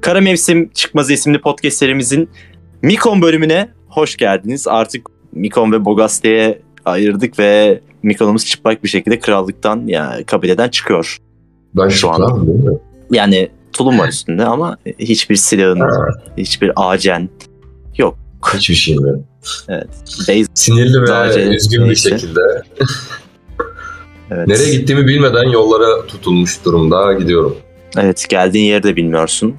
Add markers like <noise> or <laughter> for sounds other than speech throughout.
Kara Mevsim Çıkmazı isimli podcast serimizin Mikon bölümüne hoş geldiniz. Artık Mikon ve Bogaste'ye ayırdık ve Mikon'umuz çıplak bir şekilde krallıktan ya kabileden çıkıyor. Ben Şu şu anda. an değil <laughs> mi? Yani tulum var üstünde ama hiçbir silahın, Ha, hiçbir acen, hiçbir şey mi? beyz Sinirli ve Sadece üzgün bir neyse. şekilde. Evet. Nereye gittiğimi bilmeden yollara tutulmuş durumda gidiyorum. Evet geldiğin yeri de bilmiyorsun.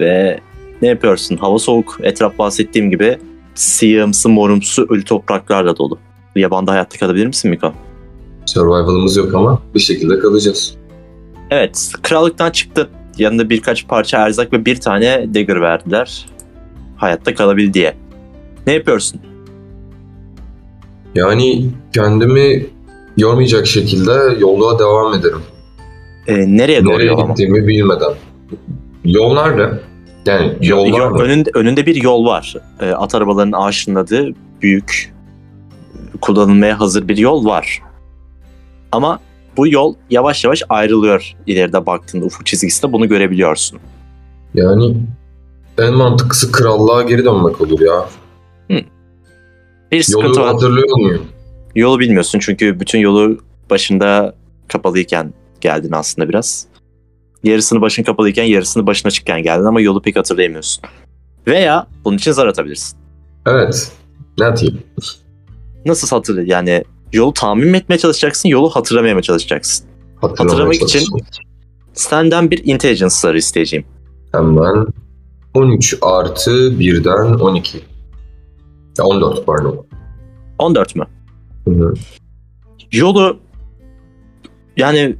Ve ne yapıyorsun? Hava soğuk. Etraf bahsettiğim gibi siyahımsı morumsu ölü topraklarla dolu. Yabanda hayatta kalabilir misin Miko? Survival'ımız yok ama bir şekilde kalacağız. Evet. Krallıktan çıktı. Yanında birkaç parça erzak ve bir tane dagger verdiler. Hayatta kalabil diye. Ne yapıyorsun? Yani kendimi yormayacak şekilde yolluğa devam ederim. Ee, nereye doğru Nereye yol ama? gittiğimi bilmeden. Yol nerede? Yani yollar Yo- mı? önünde, önünde bir yol var. Ee, at arabalarının aşınladığı büyük kullanılmaya hazır bir yol var. Ama bu yol yavaş yavaş ayrılıyor. İleride baktığında ufuk çizgisinde bunu görebiliyorsun. Yani en mantıklısı krallığa geri dönmek olur ya. Bir sıkıntı Yolu var. hatırlıyor muyum? Yolu bilmiyorsun çünkü bütün yolu başında kapalıyken geldin aslında biraz. Yarısını başın kapalıyken yarısını başın açıkken geldin ama yolu pek hatırlayamıyorsun. Veya bunun için zar atabilirsin. Evet. Ne diyeyim? Nasıl hatırlay yani yolu tahmin mi etmeye çalışacaksın yolu hatırlamaya mı çalışacaksın? Hatırlamaya Hatırlamak için- çalışıyorum. Senden bir intelligence zarı isteyeceğim. Hemen 13 artı 1'den 12. Ya 14 pardon. 14 mü? Hı hı. Yolu yani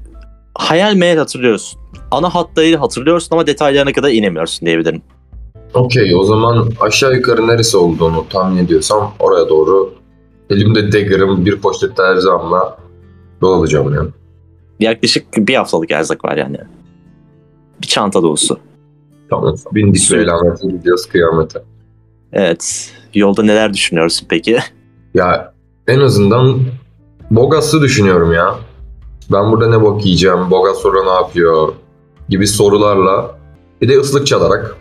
hayal meyal hatırlıyorsun. Ana hatlarıyla hatırlıyorsun ama detaylarına kadar inemiyorsun diyebilirim. Okey o zaman aşağı yukarı neresi olduğunu tahmin ediyorsam oraya doğru elimde dagger'ım bir poşet terzamla yol alacağım yani. Yaklaşık bir haftalık erzak var yani. Bir çanta dolusu. Tamam. Bindik Süper. ve elamete gidiyoruz kıyamete. Evet. Yolda neler düşünüyorsun peki? <laughs> Ya en azından Bogas'ı düşünüyorum ya. Ben burada ne bok yiyeceğim, Bogas orada ne yapıyor gibi sorularla bir de ıslık çalarak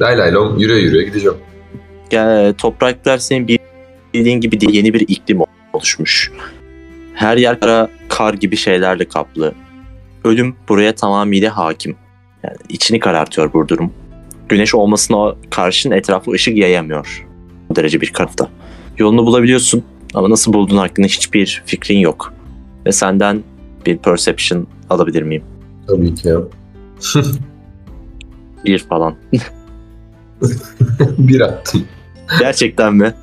lay lay lom yürüye yürüye gideceğim. Ya, e, topraklar senin bil- bildiğin gibi değil, yeni bir iklim oluşmuş. Her yer kara, kar gibi şeylerle kaplı. Ölüm buraya tamamıyla hakim. Yani içini karartıyor bu durum. Güneş olmasına karşın etrafı ışık yayamıyor. Bu derece bir karada. Yolunu bulabiliyorsun ama nasıl bulduğun hakkında hiçbir fikrin yok. Ve senden bir perception alabilir miyim? Tabii ki <laughs> ya. Bir falan. bir attım. Gerçekten mi?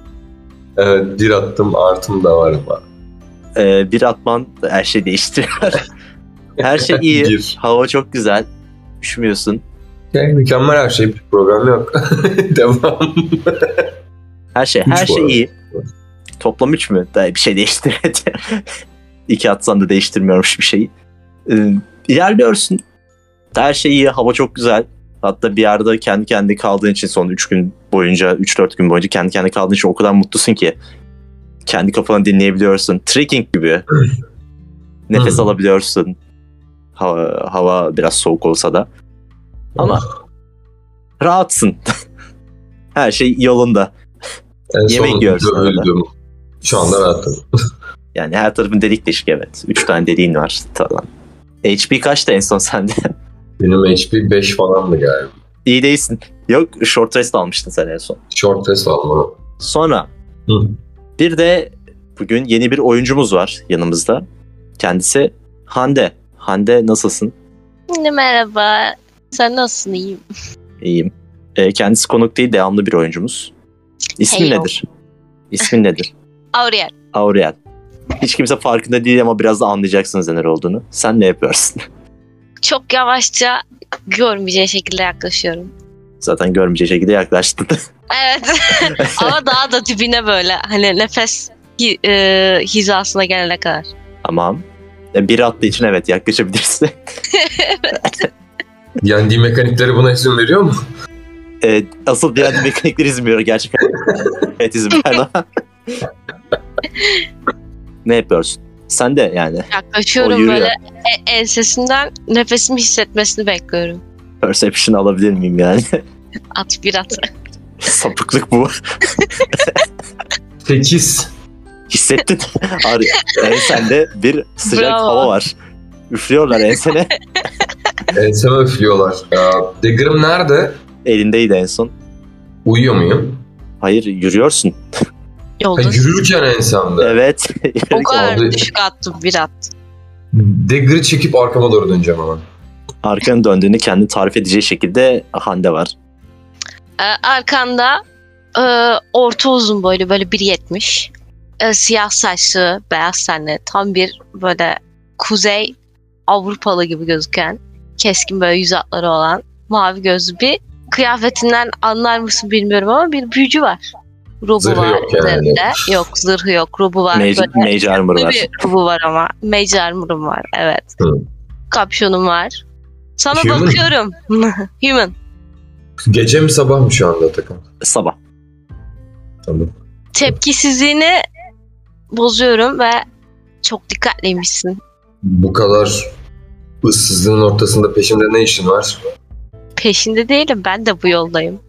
Evet bir attım artım da var ama. Ee, bir atman her şey değiştiriyor. <laughs> her şey iyi. Bir. Hava çok güzel. Üşümüyorsun. Yani mükemmel her şey bir problem yok. <laughs> Devam. Her şey Üç her bu şey arada. iyi. Toplam 3 mü? Daha bir şey <laughs> değiştirmedi. İki atsan da değiştirmiyormuş bir şeyi. Ee, ilerliyorsun. Her şey iyi. Hava çok güzel. Hatta bir yerde kendi kendi kaldığın için son 3 gün boyunca, 3-4 gün boyunca kendi kendi kaldığın için o kadar mutlusun ki. Kendi kafanı dinleyebiliyorsun. Trekking <laughs> gibi. Nefes Hmm. alabiliyorsun. Hava, hava biraz soğuk olsa da. Ama- Rahatsın. <laughs> Her şey yolunda. <laughs> en son yemek yiyoruz arada. dövüldüm. Şu anda rahatım. Yani her tarafın delik deşik evet. Üç tane deliğin var falan. HP kaçtı en son sende? Benim HP 5 falan mı galiba? <laughs> İyi değilsin. Yok short rest almıştın sen en son. Short test almalı. Sonra Hı. bir de bugün yeni bir oyuncumuz var yanımızda. Kendisi Hande. Hande nasılsın? Şimdi Merhaba. Sen nasılsın? İyiyim. İyiyim. Ee, kendisi konuk değil devamlı bir oyuncumuz. İsmin Heyo. nedir? İsmin nedir? Aurel. Aurel. Hiç kimse farkında değil ama biraz da anlayacaksınız neler olduğunu. Sen ne yapıyorsun? <laughs> Çok yavaşça görmeyeceği şekilde yaklaşıyorum. Zaten görmeyeceği şekilde yaklaştın. Evet. <laughs> Ama daha da dibine böyle hani nefes hi- e, hizasına gelene kadar. Tamam. E, Bir atlı için evet yaklaşabilirsin. <laughs> Yani D mekanikleri buna izin veriyor mu? E, asıl diğer mekanikler izin veriyor <laughs> gerçekten. evet izin veriyor. ne yapıyorsun? Sen de yani. O Yaklaşıyorum yürüyor. böyle e- ensesinden nefesimi hissetmesini bekliyorum. Perception alabilir miyim yani? <laughs> At bir at. Sapıklık bu. 8. Hissettin. <laughs> Ar- ensende bir sıcak Bravo. hava var. Üflüyorlar ensene. <laughs> Enseme üflüyorlar. Ya, Dagger'ım nerede? Elindeydi en son. Uyuyor muyum? Hayır yürüyorsun. Ha, Yolda. yürürken ensemde. Evet. O kadar Oldu. düşük attım bir at. Dagger'ı çekip arkama doğru döneceğim hemen. Arkanın döndüğünü kendi tarif edeceği şekilde Hande var. Ee, arkanda e, orta uzun boylu böyle 1.70. E, siyah saçlı, beyaz tenli. Tam bir böyle kuzey Avrupalı gibi gözüken. Keskin böyle yüz hatları olan. Mavi gözlü bir. Kıyafetinden anlar mısın bilmiyorum ama bir büyücü var. Rubu Zırhı var yok yani. üzerinde. Yok zırhı yok. Rubu var. Mage, böyle Mage Armor Tabii var. bu var ama. Mage armor'um var. Evet. Hı. Kapşonum var. Sana Human. bakıyorum. <laughs> Human. Gece mi sabah mı şu anda takım? Sabah. Tamam. Tepkisizliğini bozuyorum ve çok dikkatliymişsin. Bu kadar ıssızlığın ortasında peşimde ne işin var? Peşinde değilim. Ben de bu yoldayım.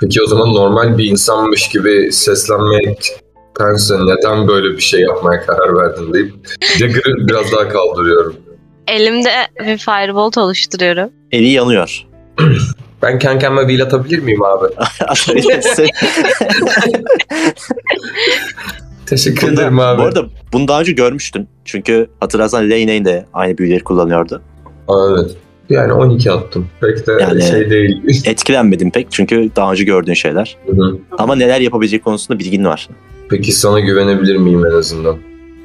Peki o zaman normal bir insanmış gibi seslenmektense neden böyle bir şey yapmaya karar verdin deyip Dagger'ı biraz daha kaldırıyorum. Elimde bir firebolt oluşturuyorum. Eli <laughs> yanıyor. Ben kendi kendime wheel atabilir miyim abi? Atabilirsin. Teşekkür Bunda- ederim abi. Bu arada bunu daha önce görmüştün. Çünkü hatırlarsan Lane'in de aynı büyüleri kullanıyordu. Aa, evet. Yani 12 attım. Pek de Yani- şey değil. Etkilenmedin pek çünkü daha önce gördüğün şeyler. Hı hı. Ama neler yapabileceği konusunda bilgin var. Peki sana güvenebilir miyim en azından?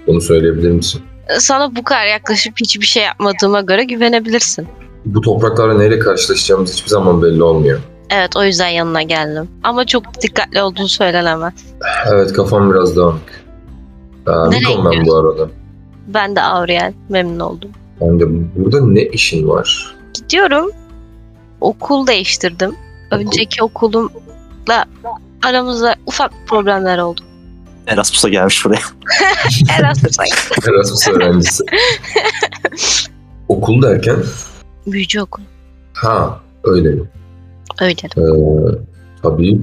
Bunu söyleyebilir misin? Sana bu kadar yaklaşıp hiçbir şey yapmadığıma göre güvenebilirsin. Bu topraklarla neyle karşılaşacağımız hiçbir zaman belli olmuyor. Evet o yüzden yanına geldim. Ama çok dikkatli olduğunu söylenemez. Evet kafam biraz dağınık. Aa, Nereye Nikon ben bu arada. Ben de Aurel memnun oldum. Ben de burada ne işin var? Gidiyorum. Okul değiştirdim. Önceki okulumla aramızda ufak problemler oldu. Erasmus'a gelmiş buraya. Erasmus'a Erasmus öğrencisi. Okul derken? büyücü okulu. Ha öyle mi? Öyle. Ee, tabii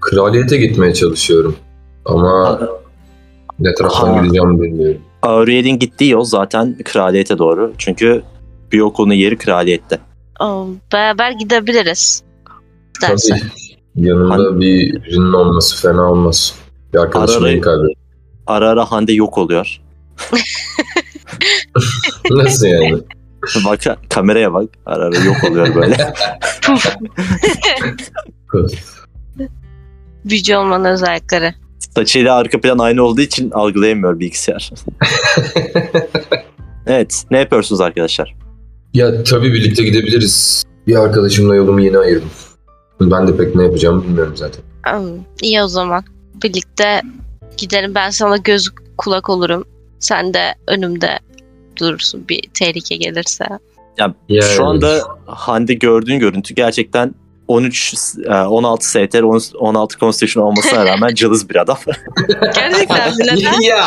kraliyete gitmeye çalışıyorum. Ama ne taraftan Aha. gideceğimi bilmiyorum. <laughs> Aurelia'nın gittiği yol zaten kraliyete doğru. Çünkü bir okulun yeri kraliyette. Aa, Beraber gidebiliriz. İstersen. Tabii yanında bir birinin olması fena olmaz. Bir arkadaşım Ararayı- beni kaybetti. Ara ara Hande yok oluyor. Nasıl yani? Bak kameraya bak. Ara ara yok oluyor böyle. Büyücü olmanın özellikleri. Saçıyla arka plan aynı olduğu için algılayamıyor bilgisayar. evet. Ne yapıyorsunuz arkadaşlar? Ya tabii birlikte gidebiliriz. Bir arkadaşımla yolumu yeni ayırdım. Ben de pek ne yapacağımı bilmiyorum zaten. Hmm, İyi o zaman. Birlikte gidelim. Ben sana göz kulak olurum. Sen de önümde durursun bir tehlike gelirse. Yani, Şu anda Hande gördüğün görüntü gerçekten 13 e, 16 STR 16 Constitution olmasına rağmen cılız bir adam. <laughs> Gerçekten mi? <laughs> neden? ya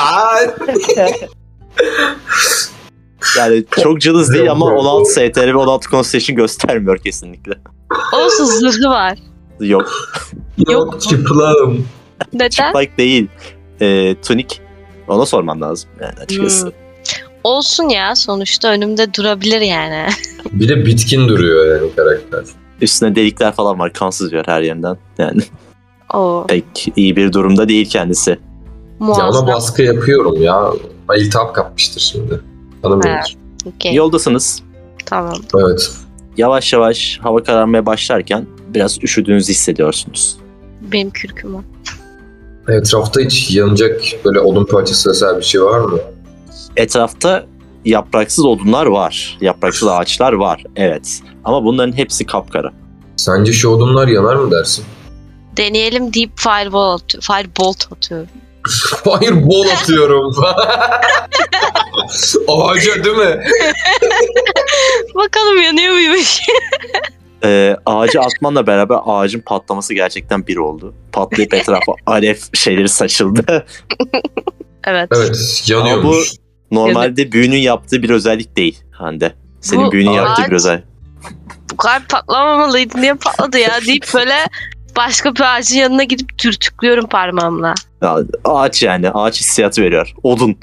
Yani çok cılız değil ama 16 STR ve 16 Constitution göstermiyor kesinlikle. Olsun zırhı var. Yok. yok çıplağım. Neden? Çıplak değil. E, tunik. Ona sormam lazım yani açıkçası. Hmm. Olsun ya sonuçta önümde durabilir yani. <laughs> Bir de bitkin duruyor yani karakter. Üstüne delikler falan var. Kan sızıyor her yerinden. Yani O pek iyi bir durumda değil kendisi. Ya ona muazzam. baskı yapıyorum ya. İltihap kapmıştır şimdi. Tanımıyoruz. Okey, Yoldasınız. tamam. Evet. Yavaş yavaş hava kararmaya başlarken biraz üşüdüğünüzü hissediyorsunuz. Benim kürküm o. Etrafta hiç yanacak böyle odun parçası vesaire bir şey var mı? etrafta yapraksız odunlar var. Yapraksız ağaçlar var. Evet. Ama bunların hepsi kapkara. Sence şu odunlar yanar mı dersin? <laughs> Deneyelim deyip fireball atıyor. Firebolt atıyorum. Hayır bol atıyorum. <laughs> Ağaca değil mi? Bakalım yanıyor muymuş? <laughs> Ee, ağacı atmanla beraber ağacın patlaması gerçekten bir oldu. Patlayıp etrafa alev şeyleri saçıldı. evet. Evet yanıyormuş. Normalde büyünün yaptığı bir özellik değil Hande. Senin Bu büyünün ağaç- yaptığı bir özellik. Bu kadar patlamamalıydın niye patladı ya deyip böyle başka bir ağacın yanına gidip dürtüklüyorum parmağımla. Ya, ağaç yani. Ağaç hissiyatı veriyor. Odun.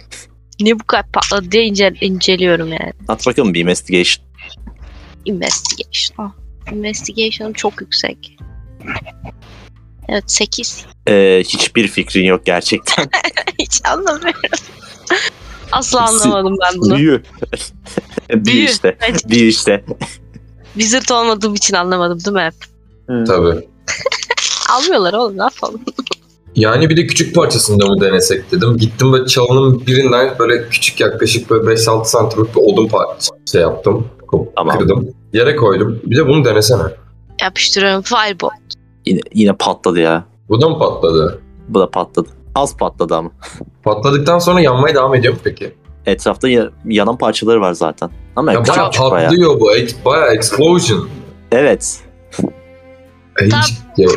Niye bu kadar patladı diye incel- inceliyorum yani. At bakalım bir investigation. Investigation. Ah, Investigation'ım çok yüksek. Evet 8. Ee, hiçbir fikrin yok gerçekten. <laughs> Hiç anlamıyorum. Asla Si- anlamadım ben bunu. Büyü. <laughs> Büyü Büyü. işte. Büyü işte. Wizard olmadığım için anlamadım değil mi hep? Tabii. Almıyorlar oğlum ne yapalım. Yani bir de küçük parçasında mı denesek dedim. Gittim ve çalının birinden böyle küçük yaklaşık böyle 5-6 santimlik bir odun parçası şey yaptım. Ko- Tamam. Kırdım. Yere koydum. Bir de bunu denesene. Yapıştırıyorum fireball. Yine, yine patladı ya. Bu da mı patladı? Bu da patladı. Az patladı ama. Patladıktan sonra yanmaya devam ediyor mu peki? Etrafta ya- yanan parçaları var zaten. Ama Ya küçük bayağı küçük bayağı. patlıyor bu. Ex- Bayağı explosion. Evet. Ay, Tam- ya,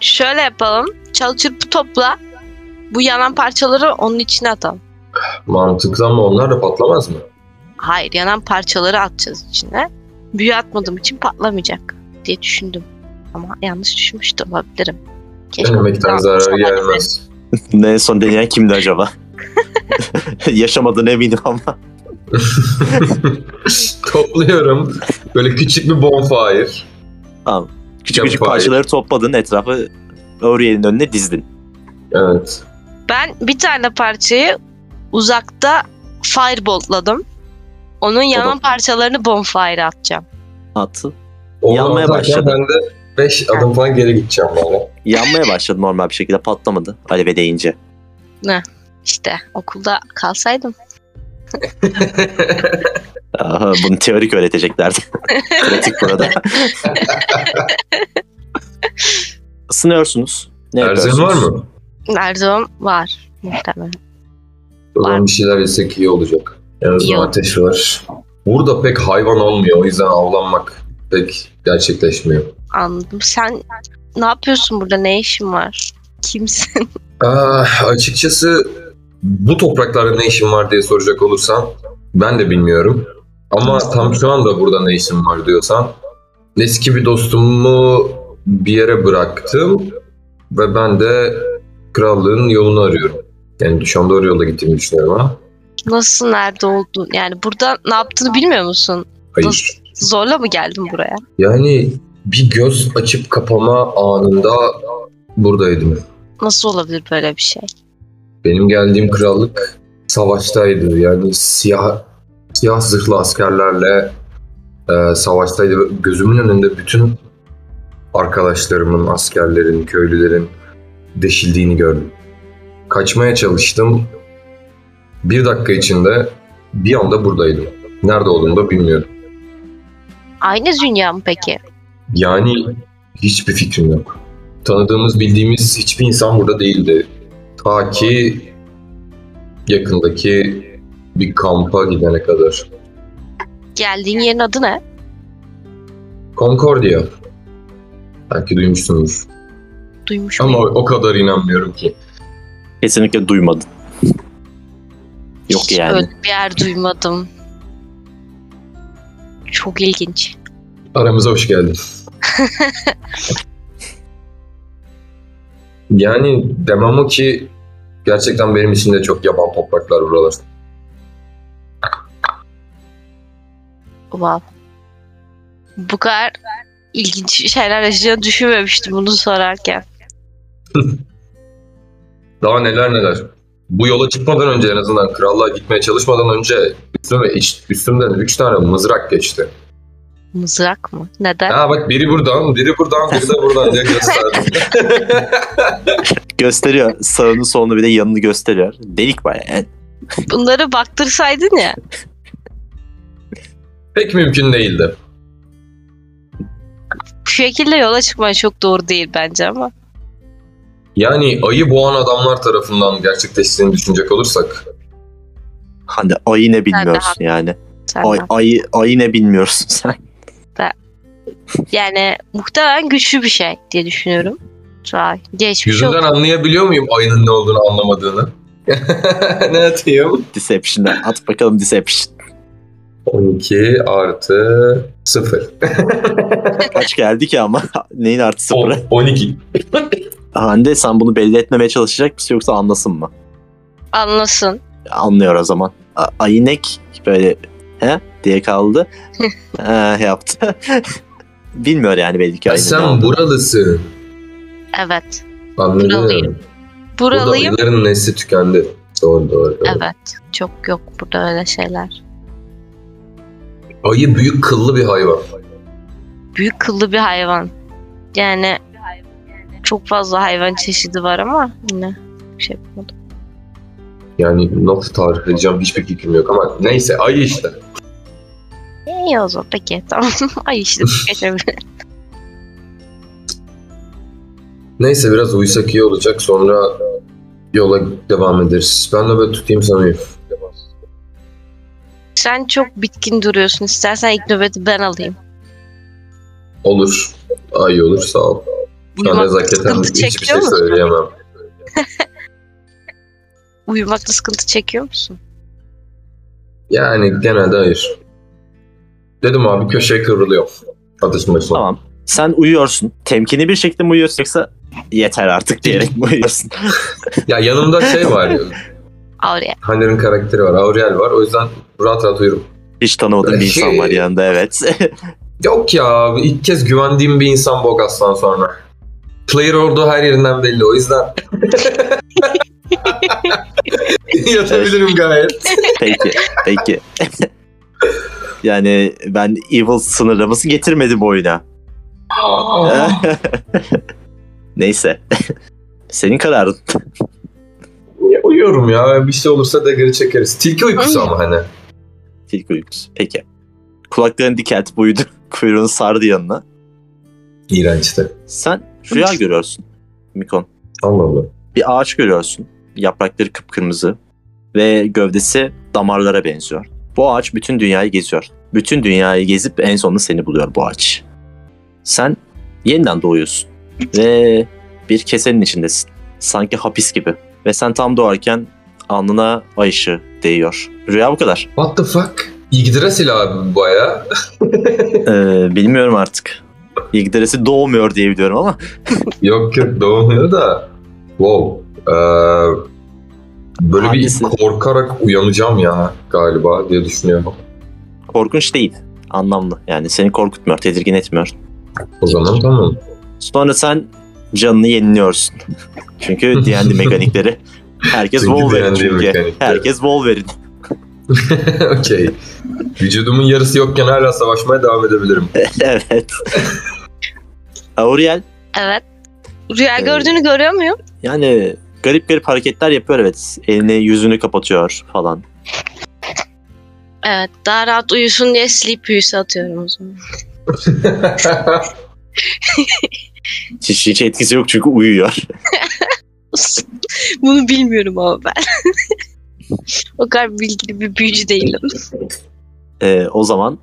Şöyle yapalım. Çalı çırpı topla. Bu yanan parçaları onun içine atalım. Mantıklı ama onlar da patlamaz mı? Hayır yanan parçaları atacağız içine. Büyü atmadığım için patlamayacak diye düşündüm. Ama yanlış düşmüş de olabilirim. Keşke Denemekten bir daha zarar konuşamadım. gelmez. Ne en son deneyen kimdi acaba? Yaşamadığına eminim ama. <laughs> Topluyorum. Böyle küçük bir bonfire. Küçük küçük Yapay. parçaları topladın etrafı Auriel'in önüne dizdin. Evet. Ben bir tane parçayı uzakta fireboltladım. Onun yanan parçalarını bonfire atacağım. Attı. Onu Yanmaya atarken başladı. Ben de 5 adım falan geri gideceğim böyle. Yanmaya başladı normal bir şekilde patlamadı aleve değince. İşte okulda kalsaydım. Aha, bunu teorik <laughs> öğreteceklerdi. Pratik burada. Isınıyorsunuz. Ne Erzin var yapıyorsunuz? mı? Erdoğan var muhtemelen. O zaman bir şeyler yesek iyi olacak. En azından Yok. ateş var. Burada pek hayvan olmuyor. O yüzden avlanmak pek gerçekleşmiyor. Anladım. Sen ne yapıyorsun burada? Ne işin var? <laughs> Kimsin? Ah, açıkçası bu topraklarda ne işim var diye soracak olursan ben de bilmiyorum. Ama tam şu anda burada ne işim var diyorsan eski bir dostumu bir yere bıraktım ve ben de krallığın yolunu arıyorum. Yani şu anda doğru yolda gittiğimi düşünüyorum ama Nasılsın? Nerede oldun? Yani burada ne yaptığını bilmiyor musun? hayır. Zorla mı geldin buraya? Yani bir göz açıp kapama anında buradaydım. Nasıl olabilir böyle bir şey? Benim geldiğim krallık savaştaydı. Yani siyah siyah zırhlı askerlerle e, savaştaydı. Ve Gözümün önünde bütün arkadaşlarımın, askerlerin, köylülerin deşildiğini gördüm. Kaçmaya çalıştım. Bir dakika içinde bir anda buradaydım. Nerede olduğumu da bilmiyorum. Aynı dünya mı peki? Yani hiçbir fikrim yok. Tanıdığımız, bildiğimiz hiçbir insan burada değildi. Ta ki yakındaki bir kampa gidene kadar. Geldiğin yerin adı ne? Concordia. Belki duymuşsunuz. Duymuş Ama muyum? o kadar inanmıyorum ki. Kesinlikle duymadın. Yok Hiç yani. Böyle bir yer duymadım. Çok ilginç. Aramıza hoş geldin. yani demem o ki gerçekten benim için de çok yaban topraklar buralar. Wow. Bu kadar ilginç şeyler yaşayacağını düşünmemiştim bunu sorarken. Daha neler neler. Bu yola çıkmadan önce en azından krallığa gitmeye çalışmadan önce üstüme iç- üstümden 3 tane mızrak geçti. Mızrak mı? Neden? Ha bak biri buradan, biri buradan, biri de buradan diye <laughs> gösterdim. Gösteriyor. Sağını solunu bir de yanını gösteriyor. Delik bayağı. Yani Bunları baktırsaydın ya. Pek mümkün değildi. Bu şekilde yola çıkman çok doğru değil bence ama. Yani ayı boğan adamlar tarafından gerçekleştiğini düşünecek olursak Hani ayı ne bilmiyorsun haklısın. yani. Sen Ay, ayı, ayı ne bilmiyorsun <laughs> sen. Yani muhtemelen güçlü bir şey diye düşünüyorum. Vay, geçmiş yüzünden olsun. anlayabiliyor muyum ayının ne olduğunu anlamadığını? <laughs> ne atayım? Deception'a at bakalım Deception. 12 artı 0. Kaç geldi ki ama <laughs> neyin artı sıfırı? 12. Hande sen bunu belli etmemeye çalışacak mısın yoksa anlasın mı? Anlasın. Anlıyor o zaman. A- Aynek böyle he diye <laughs> kaldı. Ee, yaptı. <laughs> Bilmiyor yani belli ki Ya aynen. sen buralısın. Evet. Anladın Buralıyım. Burada Buralıyım. ayıların nesli tükendi. Doğru doğru. doğru. Evet. Çok yok burada öyle şeyler. Ayı büyük kıllı bir hayvan. Büyük kıllı bir hayvan. Yani çok fazla hayvan çeşidi var ama yine bir şey yapamadım. Yani nasıl tarif edeceğim hiçbir fikrim yok ama neyse ayı işte. İyi E, o zaman peki <laughs> tamam. Ay işte <laughs> geçebilir. Neyse biraz uyusak iyi olacak sonra yola devam ederiz. Ben de böyle tutayım sana Yusuf. Sen çok bitkin duruyorsun. İstersen ilk nöbeti ben alayım. Olur. Ay olur sağ ol. Şu an Uyumakta nezaketen sıkıntı hiçbir çekiyor şey musun? söyleyemem. Uyumakta sıkıntı çekiyor musun? Yani genelde hayır. Dedim abi köşeye kıvrılıyor. Atışma için. Tamam. Sen uyuyorsun. Temkinli bir şekilde mi uyuyorsun yoksa yeter artık diyerek mi uyuyorsun? Ya yanımda şey var. ya, Avruya. Hande'nin karakteri var. Aurel var. O yüzden rahat rahat uyurum. Hiç tanımadığım bir insan var yanında evet. <laughs> Yok ya ilk kez güvendiğim bir insan Bogas'tan sonra. Player olduğu her yerinden belli o yüzden. <laughs> Yatabilirim gayet. peki, peki. <laughs> yani ben evil sınırlaması getirmedim oyuna. Neyse. <laughs> Senin kararın. Ya, Uyuyorum ya bir şey olursa da geri çekeriz. Tilki uykusu ama hani. Tilki uykusu. Peki. Kulaklarını dikeltip uyudu. <laughs> Kuyruğunu sardı yanına. İğrençti. Sen rüya görüyorsun. Mikon. Allah Allah. Bir ağaç görüyorsun. Yaprakları kıpkırmızı. Ve gövdesi damarlara benziyor. Bu ağaç bütün dünyayı geziyor. Bütün dünyayı gezip en sonunda seni buluyor bu ağaç. Sen yeniden doğuyorsun. Ve bir kesenin içindesin. Sanki hapis gibi. Ve sen tam doğarken alnına ay ışığı değiyor. Rüya bu <laughs> kadar. What the fuck? Yggdrasil abi bu baya. Ee, bilmiyorum artık. İlgideresi doğmuyor diye biliyorum ama yok yok doğmuyor da. Wow. Ee, böyle Hangisi? bir korkarak uyanacağım ya galiba diye düşünüyorum. korkunç değil. Anlamlı. Yani seni korkutmuyor, tedirgin etmiyor. O zaman tamam. Sonra sen canını <laughs> yeniliyorsun. çünkü D&D mekanikleri. Herkes Çünkü Wolverine D&D çünkü. mekanikleri. Herkes <laughs> Wolverine. Okey. Vücudumun yarısı yokken hala savaşmaya devam edebilirim. evet. Auriel Evet. Rüya Ee, gördüğünü görüyor muyum? yani garip garip hareketler yapıyor evet. Elini yüzünü kapatıyor falan. Evet. Daha rahat uyusun diye sleep büyüsü atıyorum o zaman. Hiç, hiç etkisi yok çünkü uyuyor. <laughs> <laughs> Bunu bilmiyorum ama ben. <laughs> o kadar bilgili bir büyücü değilim. Ee, o zaman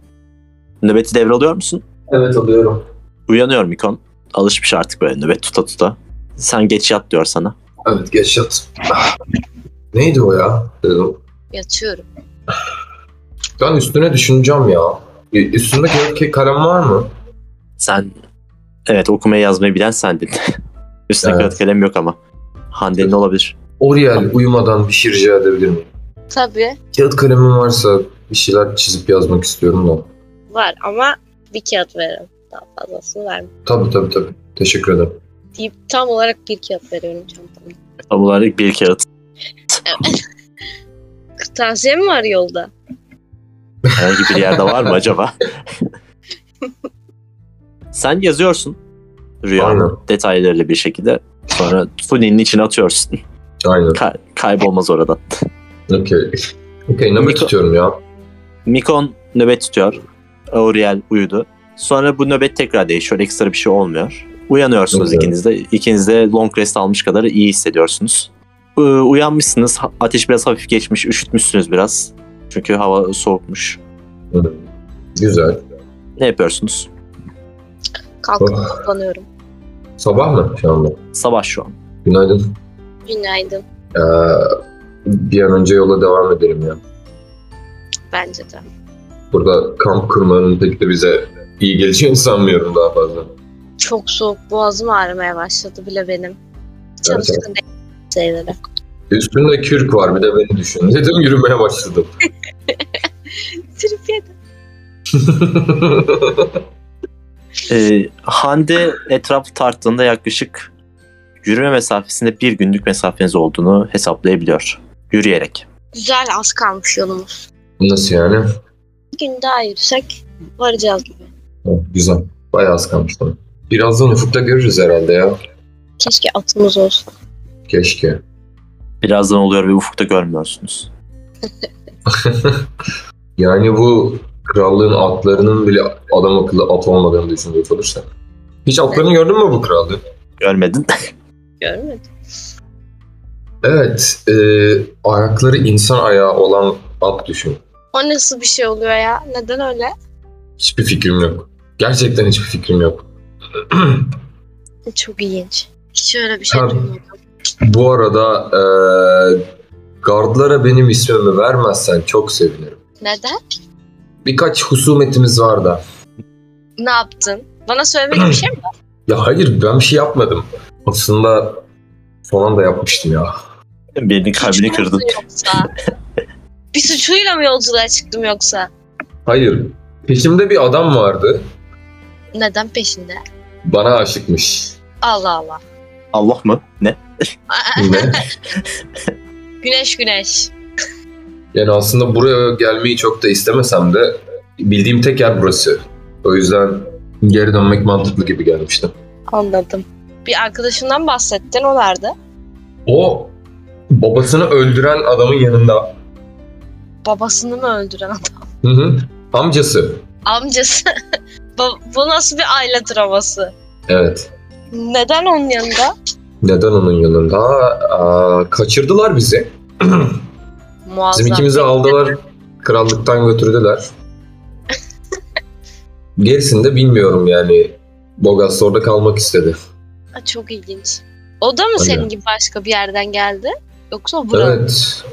nöbeti devralıyor musun? <laughs> evet alıyorum. Uyanıyor Mikon. Alışmış artık böyle nöbet tuta tuta. Sen geç yat diyor sana. Evet geç yat. Ah. Neydi o ya? Dedim. Yatıyorum. Ben üstüne düşüneceğim ya. Ü- Üstünde kağıt ke- kalem var mı? Sen evet okumayı yazmayı bilen sendin. <laughs> Üstüne Evet. kağıt kalem yok ama. Hande'nin olabilir. Oriel uyumadan bir şey rica edebilir miyim? Tabii Kağıt kalemim varsa bir şeyler çizip yazmak istiyorum da. var ama bir kağıt veririm. Daha fazlasını vermem. Tabii tabii tabii. Teşekkür ederim. Deyip tam olarak bir kağıt veriyorum çantamda. Tam olarak bir kağıt. Kırtasiye mi var yolda? Herhangi bir yerde var mı acaba? <laughs> Sen yazıyorsun. Rüyanın Aynen. detaylarıyla bir şekilde. Sonra Tuni'nin içine atıyorsun. Aynen. Ka- kaybolmaz oradan. Okey. <laughs> Okey nöbet Mikro- tutuyorum ya. Mikon nöbet tutuyor. Auriel uyudu. Sonra bu nöbet tekrar değişiyor. Ekstra bir şey olmuyor. Uyanıyorsunuz Güzel. ikiniz de. İkiniz de long rest almış kadar iyi hissediyorsunuz. Ee, Uyanmışsınız. Ha- Ateş biraz hafif geçmiş. Üşütmüşsünüz biraz. Çünkü hava soğukmuş. Hı. Güzel. Ne yapıyorsunuz? Kalkıp Oh. kullanıyorum. Sabah mı şu anda? Sabah şu an. Günaydın. Günaydın Ee, bir an önce yola devam edelim ya. bence de. Burada kamp kurmanın pek de bize iyi geleceğini sanmıyorum daha fazla. Çok soğuk boğazım ağrımaya başladı bile benim. Çalışkın değil şeylere. Üstünde kürk var bir de beni düşün. <laughs> Dedim yürümeye başladım. <laughs> Trip yedim. Ee, Hande etrafı tarttığında yaklaşık yürüme mesafesinde bir günlük mesafeniz olduğunu hesaplayabiliyor. Yürüyerek. Güzel az kalmış yolumuz. Nasıl yani? Bir gün daha yürüsek varacağız gibi. Oh, güzel. Bayağı az kalmış bana. Birazdan ufukta görürüz herhalde ya. Keşke atımız olsa. Keşke. Birazdan oluyor ve ufukta görmüyorsunuz. Yani bu krallığın atlarının bile adam akıllı at olmadığını düşünecek olursak. Hiç atlarını gördün mü bu krallığın? Görmedin. <laughs> Görmedim. Evet. e, ayakları insan ayağı olan at düşün. O nasıl bir şey oluyor ya? Neden öyle? Hiçbir fikrim yok. Gerçekten hiçbir fikrim yok. <clears throat> Çok ilginç. Hiç öyle bir şey Tabii. duymadım. Bu arada e, gardlara benim ismimi vermezsen çok sevinirim. Neden? Birkaç husumetimiz var da. Ne yaptın? Bana söylemediğin bir şey mi? Ya hayır ben bir şey yapmadım. Aslında son anda yapmıştım ya. Birinin kalbini Suçum kırdın. oldu yoksa? <laughs> bir suçuyla mı yolculuğa çıktım yoksa? Hayır. Peşimde bir adam vardı. Neden peşinde? Bana aşıkmış. Allah Allah. Allah mı? Ne? Ne? Güneş güneş. Yani aslında buraya gelmeyi çok da istemesem de bildiğim tek yer burası. O yüzden geri dönmek mantıklı gibi gelmişti. Anladım. Bir arkadaşından bahsettin o nerede? O babasını öldüren adamın yanında. Babasını mı öldüren adam? <laughs> Hı hı. Amcası. Amcası. Ba- Bu nasıl bir aile draması? Evet. Neden onun yanında? Neden onun yanında? Aa, kaçırdılar bizi. Muazzam. Bizim ikimizi aldılar. Krallıktan götürdüler. Gerisini de bilmiyorum yani. Bogas orada kalmak istedi. Aa, Çok ilginç. O da mı Öyle. senin gibi başka bir yerden geldi? Yoksa o buranın? Evet.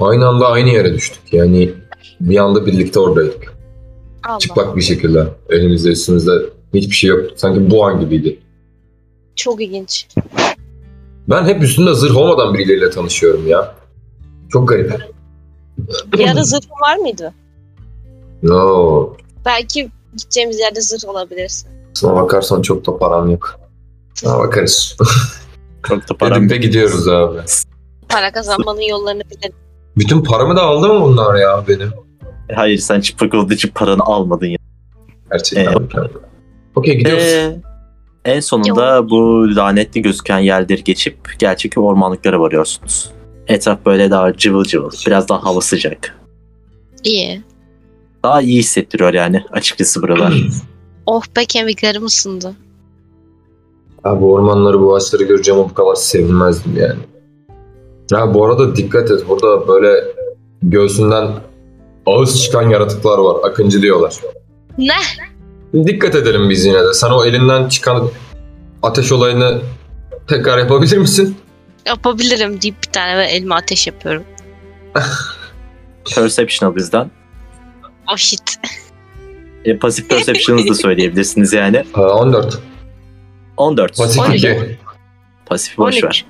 Aynı anda aynı yere düştük. Yani bir anda birlikte oradaydık. Allah. Çıplak bir şekilde. Elimizde üstümüzde hiçbir şey yok. Sanki bu an gibiydi. Çok ilginç. Ben hep üstünde zırh olmadan birileriyle tanışıyorum ya. Çok garip. Yarı zırhın var mıydı? No. Belki gideceğimiz yerde zırh olabilirsin. Sana bakarsan çok da param yok. Sana bakarız. Çok da param Dedim de gidiyoruz abi. Para kazanmanın yollarını bilelim. Bütün paramı da aldı mı bunlar ya benim? Hayır sen çıplak olduğu için paranı almadın ya. Gerçekten. Okey gidiyoruz. Ee, en sonunda bu lanetli gözüken yerleri geçip gerçek ormanlıklara varıyorsunuz. Etraf böyle daha cıvıl cıvıl. Biraz daha hava sıcak. İyi. Daha iyi hissettiriyor yani açıkçası <clears throat> buralar. Oh be kemiklerim ısındı. Abi ormanları bu ağaçları göreceğim ama bu kadar sevinmezdim yani. Ha bu arada dikkat et burada böyle göğsünden ağız çıkan yaratıklar var. Akıncı diyorlar. Ne? Dikkat edelim biz yine de. Sen o elinden çıkan ateş olayını tekrar yapabilir misin? Yapabilirim deyip bir tane böyle elime ateş yapıyorum. Perception al bizden. Oh shit. E, pasif perception'ınızı da söyleyebilirsiniz yani. Ha, 14. 14. Pasif On iki. 2. Pasif boş 12. ver.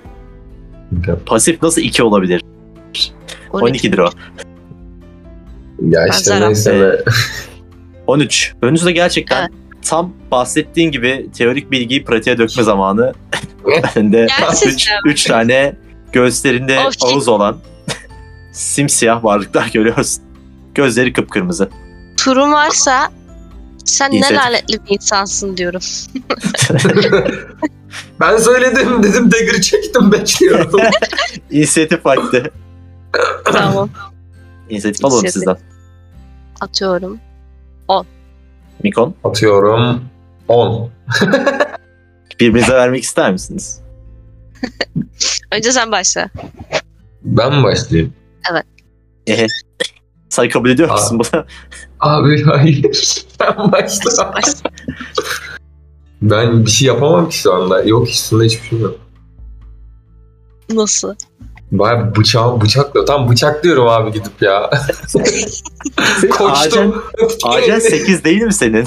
Pasif nasıl 2 olabilir? 12'dir o. Ya Ben işte zarar. neyse be. 13. Önünüzde gerçekten tam bahsettiğin gibi teorik bilgiyi pratiğe dökme zamanı. <laughs> ben de Gerçekten 3 üç tane göğüslerinde Of, şey- ağız olan <laughs> simsiyah varlıklar görüyorsun. Gözleri kıpkırmızı. Turun varsa sen ne İnisiyatif. lanetli bir insansın diyorum. <clears throat> Ben söyledim dedim dagger'ı çektim bekliyorum. İnisiyatif vakti. tamam. İnisiyatif alalım İnisiyatif. sizden. Atıyorum. Mikon Atıyorum 10. birbirinize vermek ister misiniz? Önce sen başla. Ben mi başlayayım? Sen kabul ediyor Aa. musun bunu? Abi hayır. <laughs> Sen başla. Başla. Ben bir şey yapamam ki şu anda. Yok üstünde hiçbir şey yok. Nasıl? Baya bıçağı bıçakla. Tam bıçaklıyorum abi gidip ya. <laughs> Ağacın, <laughs> Koştum. ağacın 8 değil mi senin?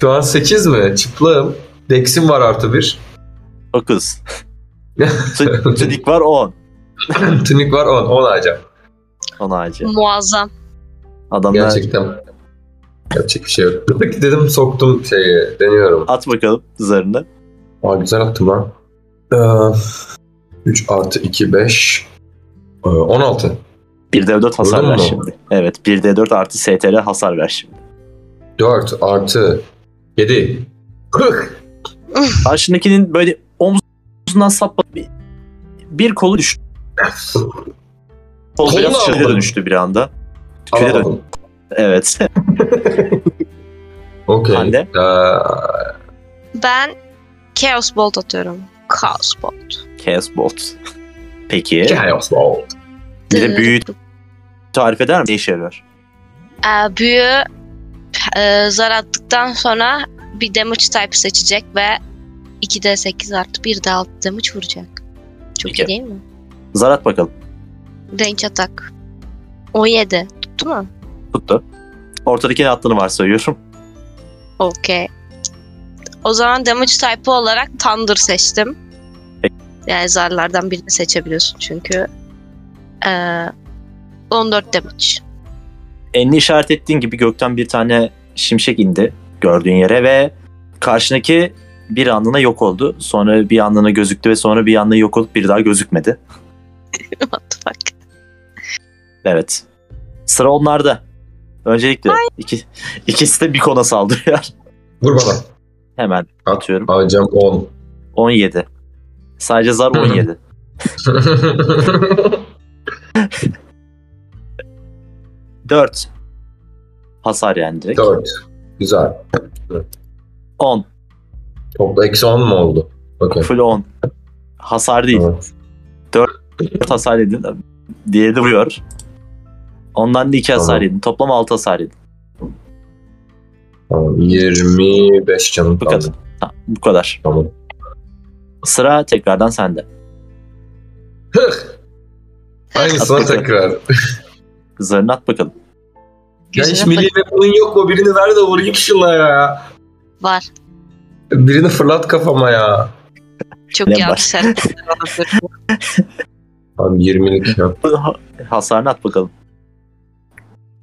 Şu an 8 mi? Çıplığım. Dex'im var artı 1. <clears throat> <laughs> 9. Tünik var 10. Tünik var 10. 10 ağaca. 10 ağacı. Muazzam. Adamlar Gerçekten. Yapacak bir şey yok. <laughs> Peki dedim soktum şeyi. Deniyorum. at bakalım zarını. Aa güzel attım lan. 3 artı Ee, 2 5 16. 1d4 hasar Gördün ver mü? şimdi. Evet 1d4 artı STR hasar ver şimdi. 4 artı 7. 40. Karşındakinin böyle omzundan sapla bir, bir kolu düştü. Kol Kolunu biraz şöyle aldım. dönüştü bir anda. Küre dön. Alamadım. Evet. Okey. <laughs> Hande? Ee, Ben Chaos Bolt atıyorum. Chaos Bolt. Chaos Bolt. Peki. Chaos Ball. Bir de büyü tarif eder mi? Ne işe yarıyor? Ee, büyü e, zar attıktan sonra bir damage type seçecek ve 2d8 artı 1d6 damage vuracak. Çok Peki. iyi değil mi? Zarat bakalım. Range atak. 17. Tuttu mu? Tuttu. Ortadakini attığını varsayıyorum. Okey. O zaman damage type'ı olarak Thunder seçtim. Yani zarlardan birini seçebiliyorsun çünkü. Ee, 14 damage. <laughs> Elini işaret ettiğin gibi gökten bir tane şimşek indi gördüğün yere ve karşındaki bir anlığına yok oldu. Sonra bir anlığına gözüktü ve sonra bir anlığına yok olup bir daha gözükmedi. What the fuck? Evet. Sıra onlarda. Öncelikle iki, ikisi de bir kona saldırıyor. <laughs> Vur bana. Hemen atıyorum. Alacağım 10. 17. Sadece zar Hı hı. 17. Dört. Hasar yani direkt. 4. Güzel. 10. Topla eksi 10 mu oldu? Okey. Full 10. Hasar değil. Tamam. 4 hasar yedin. Diğeri de vuruyor. Ondan da 2 hasar Tamam. yedin. Toplam 6 hasar yedin. Tamam. 25 canım Bu kadar. kaldı. Ha, bu kadar. Tamam. Sıra tekrardan sende. Aynısına tekrar. Zarını at bakalım. Ya hiç Güzel. milli bunun yok mu? Birini ver de vurayım şuna ya. Var. Birini fırlat kafama ya. Çok Ne <laughs> yanlış hareketler. Abi 20'lik ya. Hasarını at bakalım.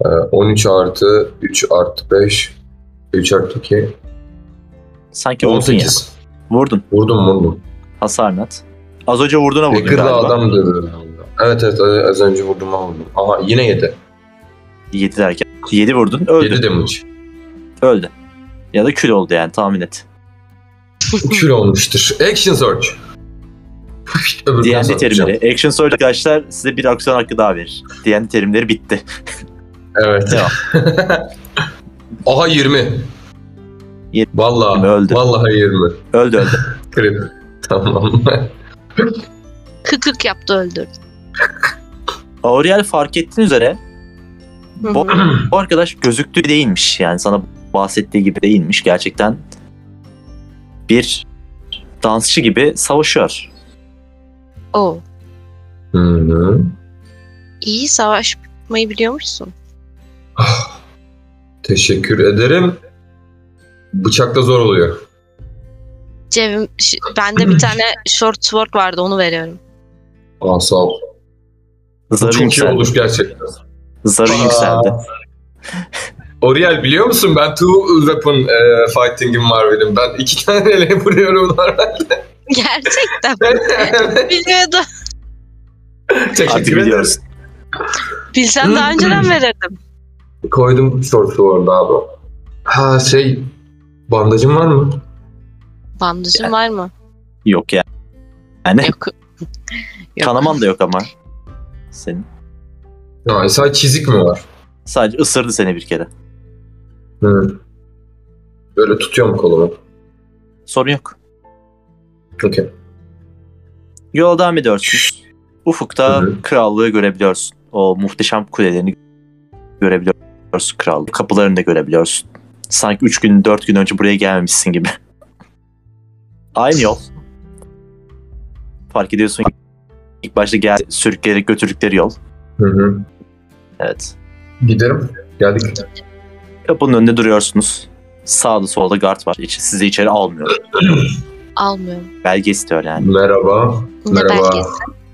Ee, 13 artı 3 artı 5 3 artı 2 Sanki vurdun ya. 18. Vurdun. Vurdum vurdum. Hasarını at. Az önce vurduğuna vurdun Bekir'de galiba. adam dövüyor. Evet evet az önce vurdum vurdum. Aha yine 7. 7 derken. 7 vurdun. Öldü. 7 damage. Öldü. Ya da kül oldu yani tahmin et. Kül olmuştur. Action Search. <laughs> Öbür D&D kasa atacağım. terimleri. Action Surge arkadaşlar size bir aksiyon hakkı daha verir. D&D terimleri bitti. Evet. <laughs> Devam. Aha 20. Yirmi. Vallahi. Öldü. Vallahi 20. Öldü öldü. Krip. <laughs> Tamam. Kıkık yaptı öldürdü. Aurel fark ettiğin üzere Hı hı. bu, <clears throat> bu arkadaş gözüktüğü değilmiş. Yani sana bahsettiği gibi değilmiş. Gerçekten bir dansçı gibi savaşıyor. Oo. Hı hı. İyi savaşmayı biliyormuşsun. Teşekkür ederim. Bıçakla zor oluyor. Cebim, ş- bende bir tane short sword vardı onu veriyorum. <laughs> Aa sağ ol. Zarı Çok iyi yükseldi. olmuş gerçekten. Zarı Aa. yükseldi. Oriel biliyor musun ben two weapon e, fighting'im var benim. Ben iki <laughs> tane ele vuruyorum normalde. Gerçekten biliyordum. Artık Teşekkür ederim. biliyoruz. Bilsem daha önceden verirdim. Koydum short orada abi. Ha şey bandajın var mı? Bandajın var mı? Yok yani. Yani Yok. Yok. kanaman da yok ama. Senin. Ha, e, sadece çizik mi var? Sadece ısırdı seni bir kere. Hı. Böyle tutuyorum kolumu. Sorun yok. Okey. Yola devam ediyorsun. Ufukta Hı hı. krallığı görebiliyorsun. O muhteşem kulelerini görebiliyorsun krallığı. Kapılarını da görebiliyorsun. Sanki 3 gün 4 gün önce buraya gelmemişsin gibi. <laughs> Aynı yol. Fark ediyorsun ki İlk başta gel sürükleyerek götürdükleri yol. Hı hı. Evet. Giderim. Geldik. Kapının önünde duruyorsunuz. Sağda solda guard var. Hiç, sizi içeri almıyor. Almıyorum. Belge istiyor yani. Merhaba. Ne Merhaba. belgesi?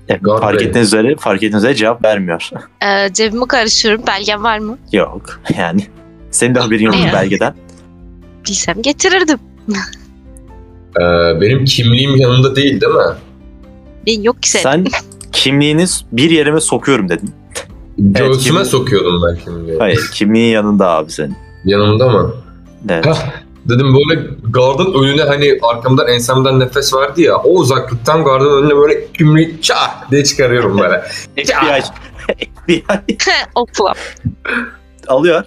Evet, Guard fark Bey. ettiğiniz üzere, fark ettiğiniz üzere cevap vermiyor. <laughs> Ee, cebimi karıştırıyorum. Belgem var mı? Yok yani. Senin de haberin yok bu Evet. belgeden. Bilsem getirirdim. Ee, benim kimliğim yanımda değil değil mi? Ben yok ki senin. Sen kimliğini bir yerime sokuyorum dedin. Göğsüme kimlik- sokuyordum ben kimliği. Hayır kimliğin yanında abi senin. Yanımda mı? Evet. <laughs> Hah, dedim böyle gardın önüne hani arkamdan ensemden nefes verdi ya o uzaklıktan gardın önüne böyle kimliği çah diye çıkarıyorum böyle. FBI, FBI <laughs> Okula. alıyor.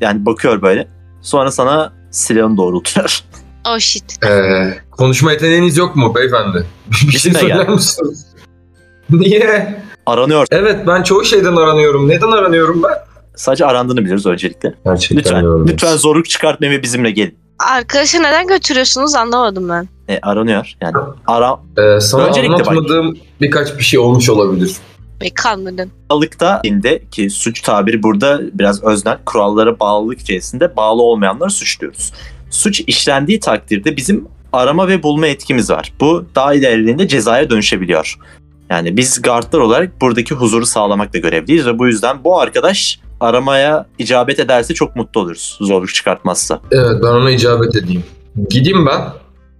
Yani bakıyor böyle. Sonra sana silahını doğrultuyor. <laughs> Oh shit. Ee, konuşma yeteneğiniz yok mu beyefendi? <laughs> Bir şey Bizimle gel. söyler misiniz? <laughs> Niye? Aranıyor. Evet ben çoğu şeyden aranıyorum. Neden aranıyorum ben? Sadece arandığını biliyoruz öncelikle. Gerçekten Lütfen, lütfen zorluk çıkartmayın ve bizimle gelin. Arkadaşı neden götürüyorsunuz anlamadım ben. E, aranıyor. Yani ara, Ee, sana Öncelikle bak. anlatmadığım birkaç bir şey olmuş olabilir. Ve kanmadın. bağlılıkta dinde ki suç tabiri burada biraz öznel kurallara bağlılık içerisinde bağlı olmayanları suçluyoruz. Suç işlendiği takdirde bizim arama ve bulma etkimiz var. Bu daha ilerlediğinde cezaya dönüşebiliyor. Yani biz guardlar olarak buradaki huzuru sağlamakla görevliyiz ve bu yüzden bu arkadaş aramaya icabet ederse çok mutlu oluruz zorluk çıkartmazsa. Evet ben ona icabet edeyim. Gideyim ben.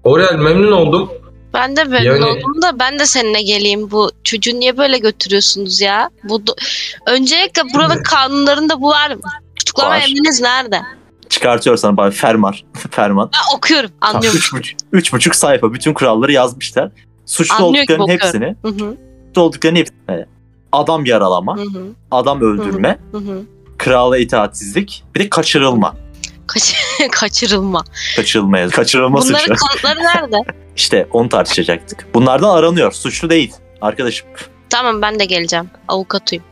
Orel memnun oldum. Ben de memnun Yani- oldum da ben de seninle geleyim. Bu çocuğu niye böyle götürüyorsunuz ya? Bu do- Öncelikle buranın kanunlarında bu var mı? Tutuklama Var. emriniz nerede? Çıkartıyor sana bari fermar, <laughs> ferman. Ben okuyorum. Anlıyorum. Üç buçuk, üç buçuk sayfa bütün kuralları yazmışlar. Suçlu Anlıyor ki olduklarının bakıyorum. hepsini, Hı hı, suçlu olduklarının hepsini. Adam yaralama, hı hı, adam öldürme, hı hı. krala itaatsizlik, bir de kaçırılma. Kaç- <laughs> kaçırılma. Kaçırılmaya, kaçırılma suçu. Bunların kanıtları nerede? <laughs> İşte onu tartışacaktık. Bunlardan aranıyor. Suçlu değil. Arkadaşım, tamam ben de geleceğim. Avukatıyım.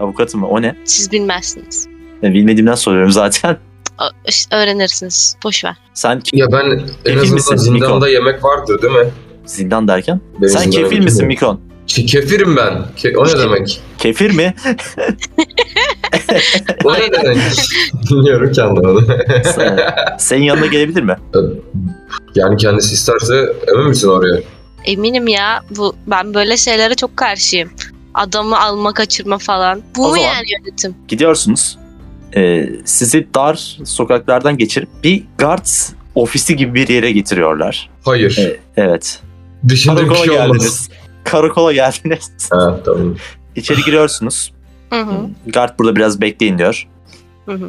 avukatım mı? O ne? Siz bilmezsiniz. Ben bilmediğimden soruyorum zaten. <laughs> Ö- işte öğrenirsiniz. Boş ver. Sen ki- Ya ben en Kefil azından misin, zindanda Niko? yemek vardır değil mi? zindan derken. Benim Sen zindana kefil gitmem. misin Mikon? Ke- kefirim ben. Ke- o ne demek? Kefir <laughs> mi? O ne <laughs> demek? Bilmiyorum ki anlamadım. Sen- Senin yanına gelebilir mi? Yani kendisi isterse emin misin oraya? Eminim ya. Bu ben böyle şeylere çok karşıyım. Adamı alma kaçırma falan. Bu O mu zaman- yani yönetim? Gidiyorsunuz. Ee, sizi dar sokaklardan geçirip bir guard ofisi gibi bir yere getiriyorlar. Hayır. Evet. Evet. Düşündüğüm bir Karakola şey olmaz. geldiniz. Karakola geldiniz. Ha, tamam. İçeri giriyorsunuz. Hı hı, Guard burada biraz bekleyin diyor. hı hı.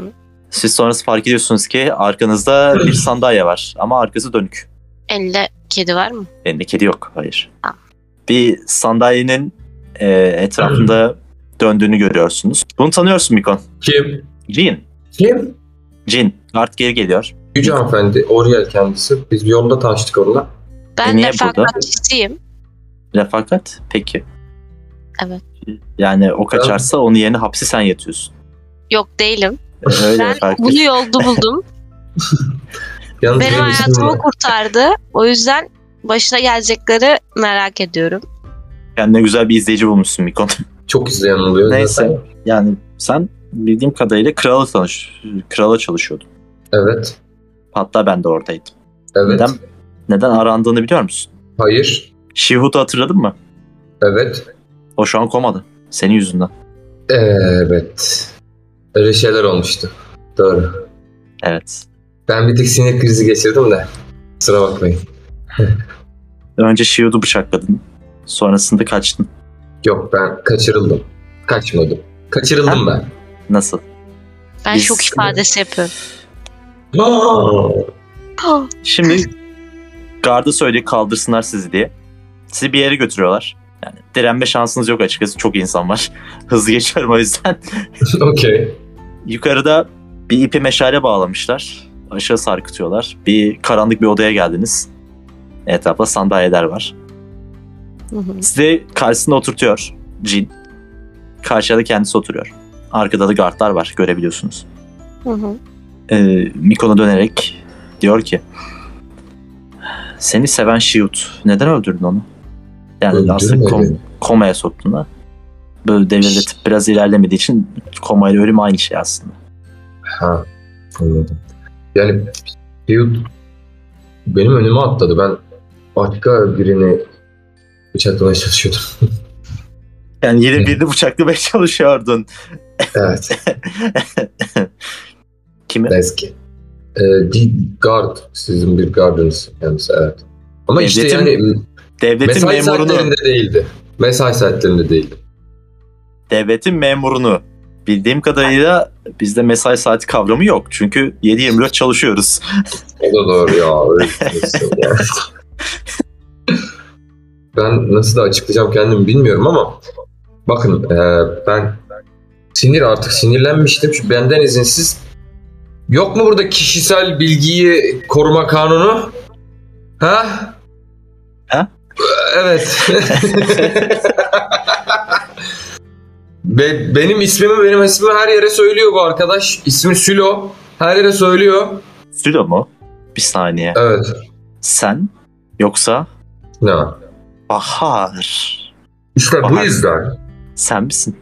Siz sonrası fark ediyorsunuz ki arkanızda <laughs> bir sandalye var ama arkası dönük. Elinde kedi var mı? Elinde kedi yok. Hayır. Ha. Bir sandalyenin e, <laughs> etrafında döndüğünü görüyorsunuz. Bunu tanıyorsun Mikon. Kim? Jin. Kim? Jin. Guard geri geliyor. Yüce hanımefendi. Oriel kendisi. Biz yolda tanıştık onunla. E, Ben niye de burada? fakatçısıyım. Refakat. Peki. Evet. Yani o kaçarsa onun yerine hapse sen yatıyorsun. Yok değilim. Ee, Öyle Ben fark bunu <laughs> yolda buldum. Yalnız Benim benim ismim hayatımı var. kurtardı. O yüzden başına gelecekleri merak ediyorum. Kendine güzel bir izleyici bulmuşsun Mikon. <laughs> Çok izleyen oluyor zaten. Neyse. Yani sen bildiğim kadarıyla krala, tanış, krala çalışıyordun. Evet. Hatta ben de oradaydım. Evet. Neden, neden arandığını biliyor musun? Hayır. Shihut'u hatırladın mı? Evet. O şu an komada. Senin yüzünden. Evet. Öyle şeyler olmuştu. Doğru. Evet. Ben bir tek sinir krizi geçirdim de. Sıra bakmayın. Önce Shihut'u bıçakladın. Sonrasında kaçtın. Yok ben kaçırıldım. Kaçmadım. Kaçırıldım ben. Nasıl? Ben Biz- şok ifadesi yapıyorum. <gasps> Aa! Şimdi garda söylüyor kaldırsınlar sizi diye. Sizi bir yere götürüyorlar. Yani direnme şansınız yok açıkçası. Çok insan var. <laughs> Hızlı geçiyorum o yüzden. <laughs> Okey. Yukarıda bir ipi meşale bağlamışlar. Aşağı sarkıtıyorlar. Bir karanlık bir odaya geldiniz. Etrafta sandalyeler var. Hı hı. Sizi karşısında oturtuyor cin. Karşıya da kendisi oturuyor. Arkada da gardlar var görebiliyorsunuz. Hı hı. Ee, Mikon'a dönerek diyor ki Seni seven Shiut. Neden öldürdün onu? Yani Öldürme aslında kom- beni. komaya soktuğunda böyle devirde tıp biraz ilerlemediği için komayla ölüm aynı şey aslında. Ha, anladım. Yani Hugh benim önüme atladı. Ben başka birini bıçaklamaya çalışıyordum. <laughs> Yani yeni Evet. birini bıçaklamaya çalışıyordun. <laughs> evet. Kimi? Neyse ki. Ee, bir guard. Sizin bir guardınız kendisi. Evet. Ama işte Devletin- yani Devletin mesai memurunu. saatlerinde değildi. Mesai saatlerinde değildi. Devletin memurunu. Bildiğim kadarıyla bizde mesai saati kavramı yok. Çünkü 7-24 çalışıyoruz. O da doğru ya. öyle bir şey ya. ben nasıl da açıklayacağım kendimi bilmiyorum ama bakın e, ben sinir artık sinirlenmiştim. Şu benden izinsiz yok mu burada kişisel bilgiyi koruma kanunu? Ha? Ha? Evet. Be- benim ismimi benim ismimi her yere söylüyor bu arkadaş. İsmi Sülo. Her yere söylüyor. Sülo mu? Bir saniye. Evet. Sen yoksa Ne? Bahar. İşte bu Bahar. yüzden. Sen misin?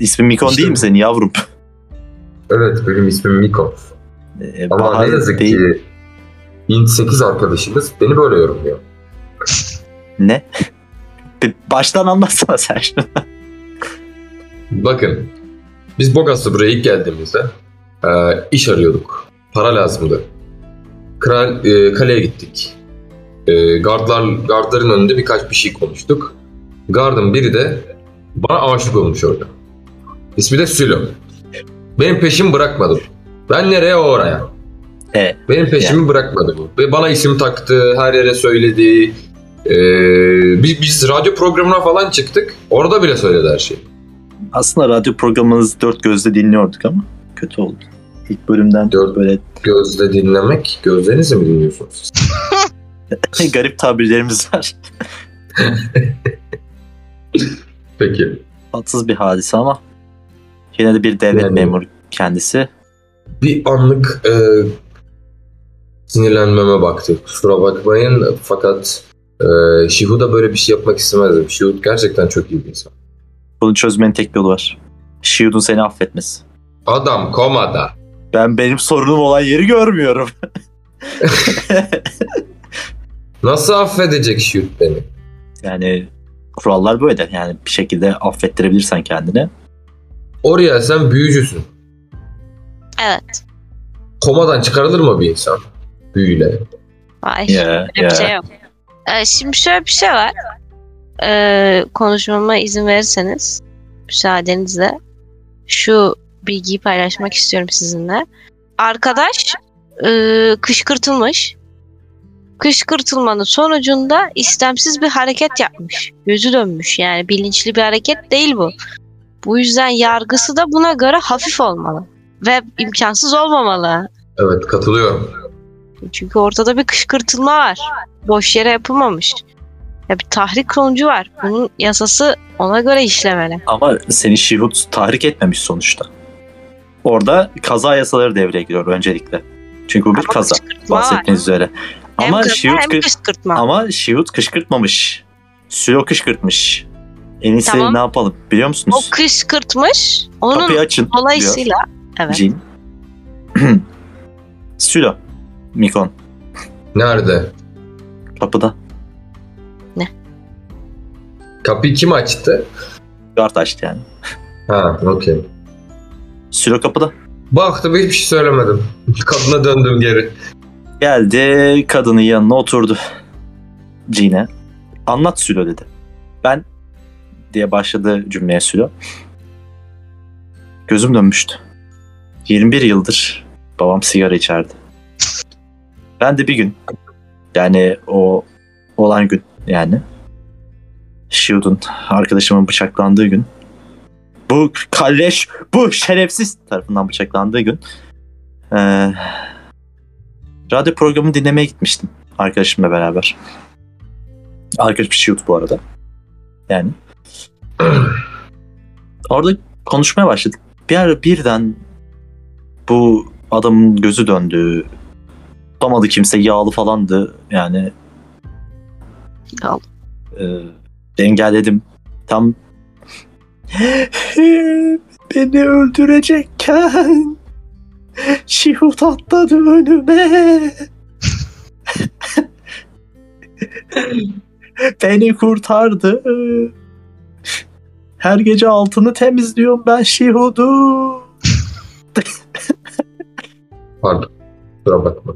İsmin Mikon İşte değil bu. mi senin yavrum? Evet benim ismim Miko. Ee, Ama ne yazık değil. ki Int 8 arkadaşımız beni böyle yorumluyor. Ne? <laughs> Bir Baştan anlatsana sen şunu. Bakın biz Bogas'la buraya ilk geldiğimizde e, iş arıyorduk. Para lazımdı. Kral, e, kaleye gittik. E, gardlar, gardların önünde birkaç bir şey konuştuk. Gardın biri de bana aşık olmuş orada. İsmi de Sülo. Benim peşimi bırakmadı. Ben nereye o oraya. E, Benim peşimi bırakmadı bu. Ve bana isim taktı, her yere söyledi. Ee, biz, biz radyo programına falan çıktık. Orada bile söyledi her şeyi. aslında radyo programınızı dört gözle dinliyorduk ama kötü oldu. İlk bölümden Dört- böyle <laughs> Gözle dinlemek, gözlerinizle mi dinliyorsunuz? siz? garip tabirlerimiz var. Peki. Tatsız bir hadise ama yine de bir devlet Yani- memuru kendisi. Bir anlık e, sinirlenmeme baktı. Kusura bakmayın fakat e, Şihuda böyle bir şey yapmak istemezdim. Şihud gerçekten çok iyi bir insan. Bunu çözmenin tek yolu var. Shield'un seni affetmesi. Adam komada. Ben benim sorunum olan yeri görmüyorum. Nasıl affedecek Şihud beni? Yani kurallar böyle. Yani bir şekilde affettirebilirsen kendini. Oraya sen büyücüsün. Evet. Komadan çıkarılır mı bir insan? Büyüyle. Vay. Ya, Öyle ya. bir şey yok. Ee, şimdi şöyle bir şey var. Ee, konuşmama izin verirseniz müsaadenizle şu bilgiyi paylaşmak istiyorum sizinle. Arkadaş e, kışkırtılmış. Kışkırtılmanın sonucunda istemsiz bir hareket yapmış. Gözü dönmüş yani bilinçli bir hareket değil bu. Bu yüzden yargısı da buna göre hafif olmalı ve imkansız olmamalı. Evet katılıyorum. Çünkü ortada bir kışkırtılma var. Boş yere yapılmamış. Ya bir tahrik sonucu var. Bunun yasası ona göre işlemeli. Ama seni Şihut tahrik etmemiş sonuçta. Orada kaza yasaları devreye giriyor öncelikle. Çünkü bu bir Ama kaza kışkırtma var. bahsettiğiniz üzere. Hem Ama kaza Şihut, hem kı- kışkırtma. ama Şihut kışkırtmamış. Sülo kışkırtmış. En iyisi Tamam. ne yapalım biliyor O musunuz? kışkırtmış. Onun Kapıyı açın dolayısıyla diyor evet. Jin. <clears throat> Sülo. Mikon. Nerede? Kapıda. Kapıyı kim açtı? Guard açtı yani. Ha okey. Sülo kapıda. Baktım hiçbir şey söylemedim. <laughs> Kadına döndüm geri. <clears throat> Geldi kadının yanına oturdu. Cine. Anlat Sülo dedi. Ben diye başladı cümleye Sülo. Gözüm dönmüştü. 21 yıldır babam sigara içerdi. Ben de bir gün yani o olan gün yani Shield'un arkadaşımın bıçaklandığı gün bu kalleş bu şerefsiz tarafından bıçaklandığı gün eee radyo programını dinlemeye gitmiştim arkadaşımla beraber. Arkadaşım Shield bu arada. Yani. Orada konuşmaya başladık. Bir ara birden bu adamın gözü döndü. Tutamadı kimse yağlı falandı yani. Yağlı. Ee, engelledim. Tam <gasps> beni öldürecekken Şihut atladı önüme. beni kurtardı. Her gece altını temizliyorum ben Şihud'u. Pardon. Kusura bakma.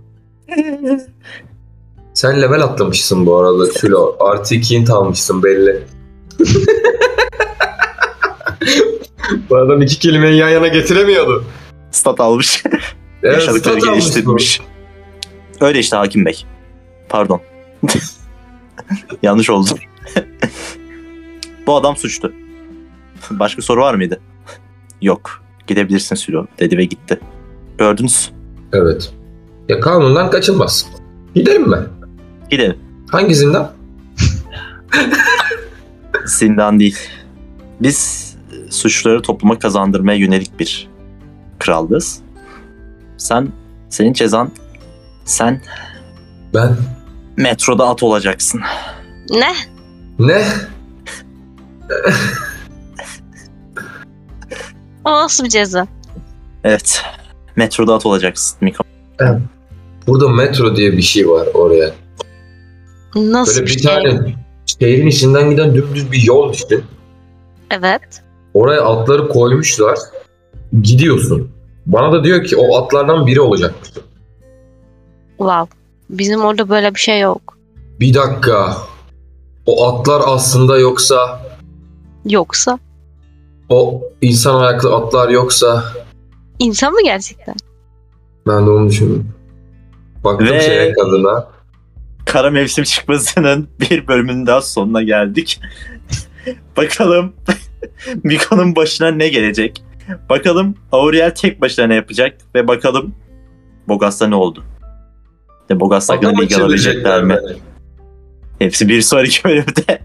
Sen level atlamışsın bu arada Sülo. Artı 2 int almışsın belli. bu adam iki kelimeyi yan yana getiremiyordu. <laughs> Stat almış. Evet, Yaşadıkları stat almış bu. geliştirmiş. Öyle işte Hakim Bey. Pardon. <laughs> Yanlış oldu. <laughs> Bu adam suçlu. Başka soru var mıydı? Yok. Gidebilirsin Sülo dedi ve gitti. Gördünüz. Evet. Ya kanundan kaçılmaz. Gidelim mi? Gidelim. Hangi zindan? Zindan değil. Biz e, suçluları topluma kazandırmaya yönelik bir krallığız. Sen, senin cezan sen Ben. metroda at olacaksın. Ne? Ne? O nasıl bir ceza? Evet. Metroda at olacaksın Miko. Burada metro diye bir şey var oraya. Nasıl Böyle bir, bir şey? tane şehrin içinden giden dümdüz bir yol düşün. Evet. Oraya atları koymuşlar. Gidiyorsun. Bana da diyor ki o atlardan biri olacakmış. Wow. Bizim orada böyle bir şey yok. Bir dakika. O atlar aslında yoksa Yoksa o insan ayaklı atlar yoksa insan mı gerçekten? ben de onu düşündüm. Baktım Ve- şeye kadına. Kara Mevsim Çıkması'nın bir bölümünün daha sonuna geldik. <laughs> Bakalım <laughs> Miko'nun başına ne gelecek? Bakalım Auriel tek başına ne yapacak? Ve bakalım Bogas'ta ne oldu? De Bogas hakkında Adamı bilgi alabilecekler çevirecekler mi? beni. Hepsi bir sonraki bölümde.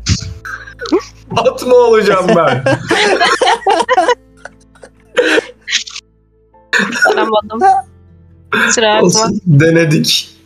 At mı olacağım ben? Aramadım. Sıra bakma. Olsun, Denedik.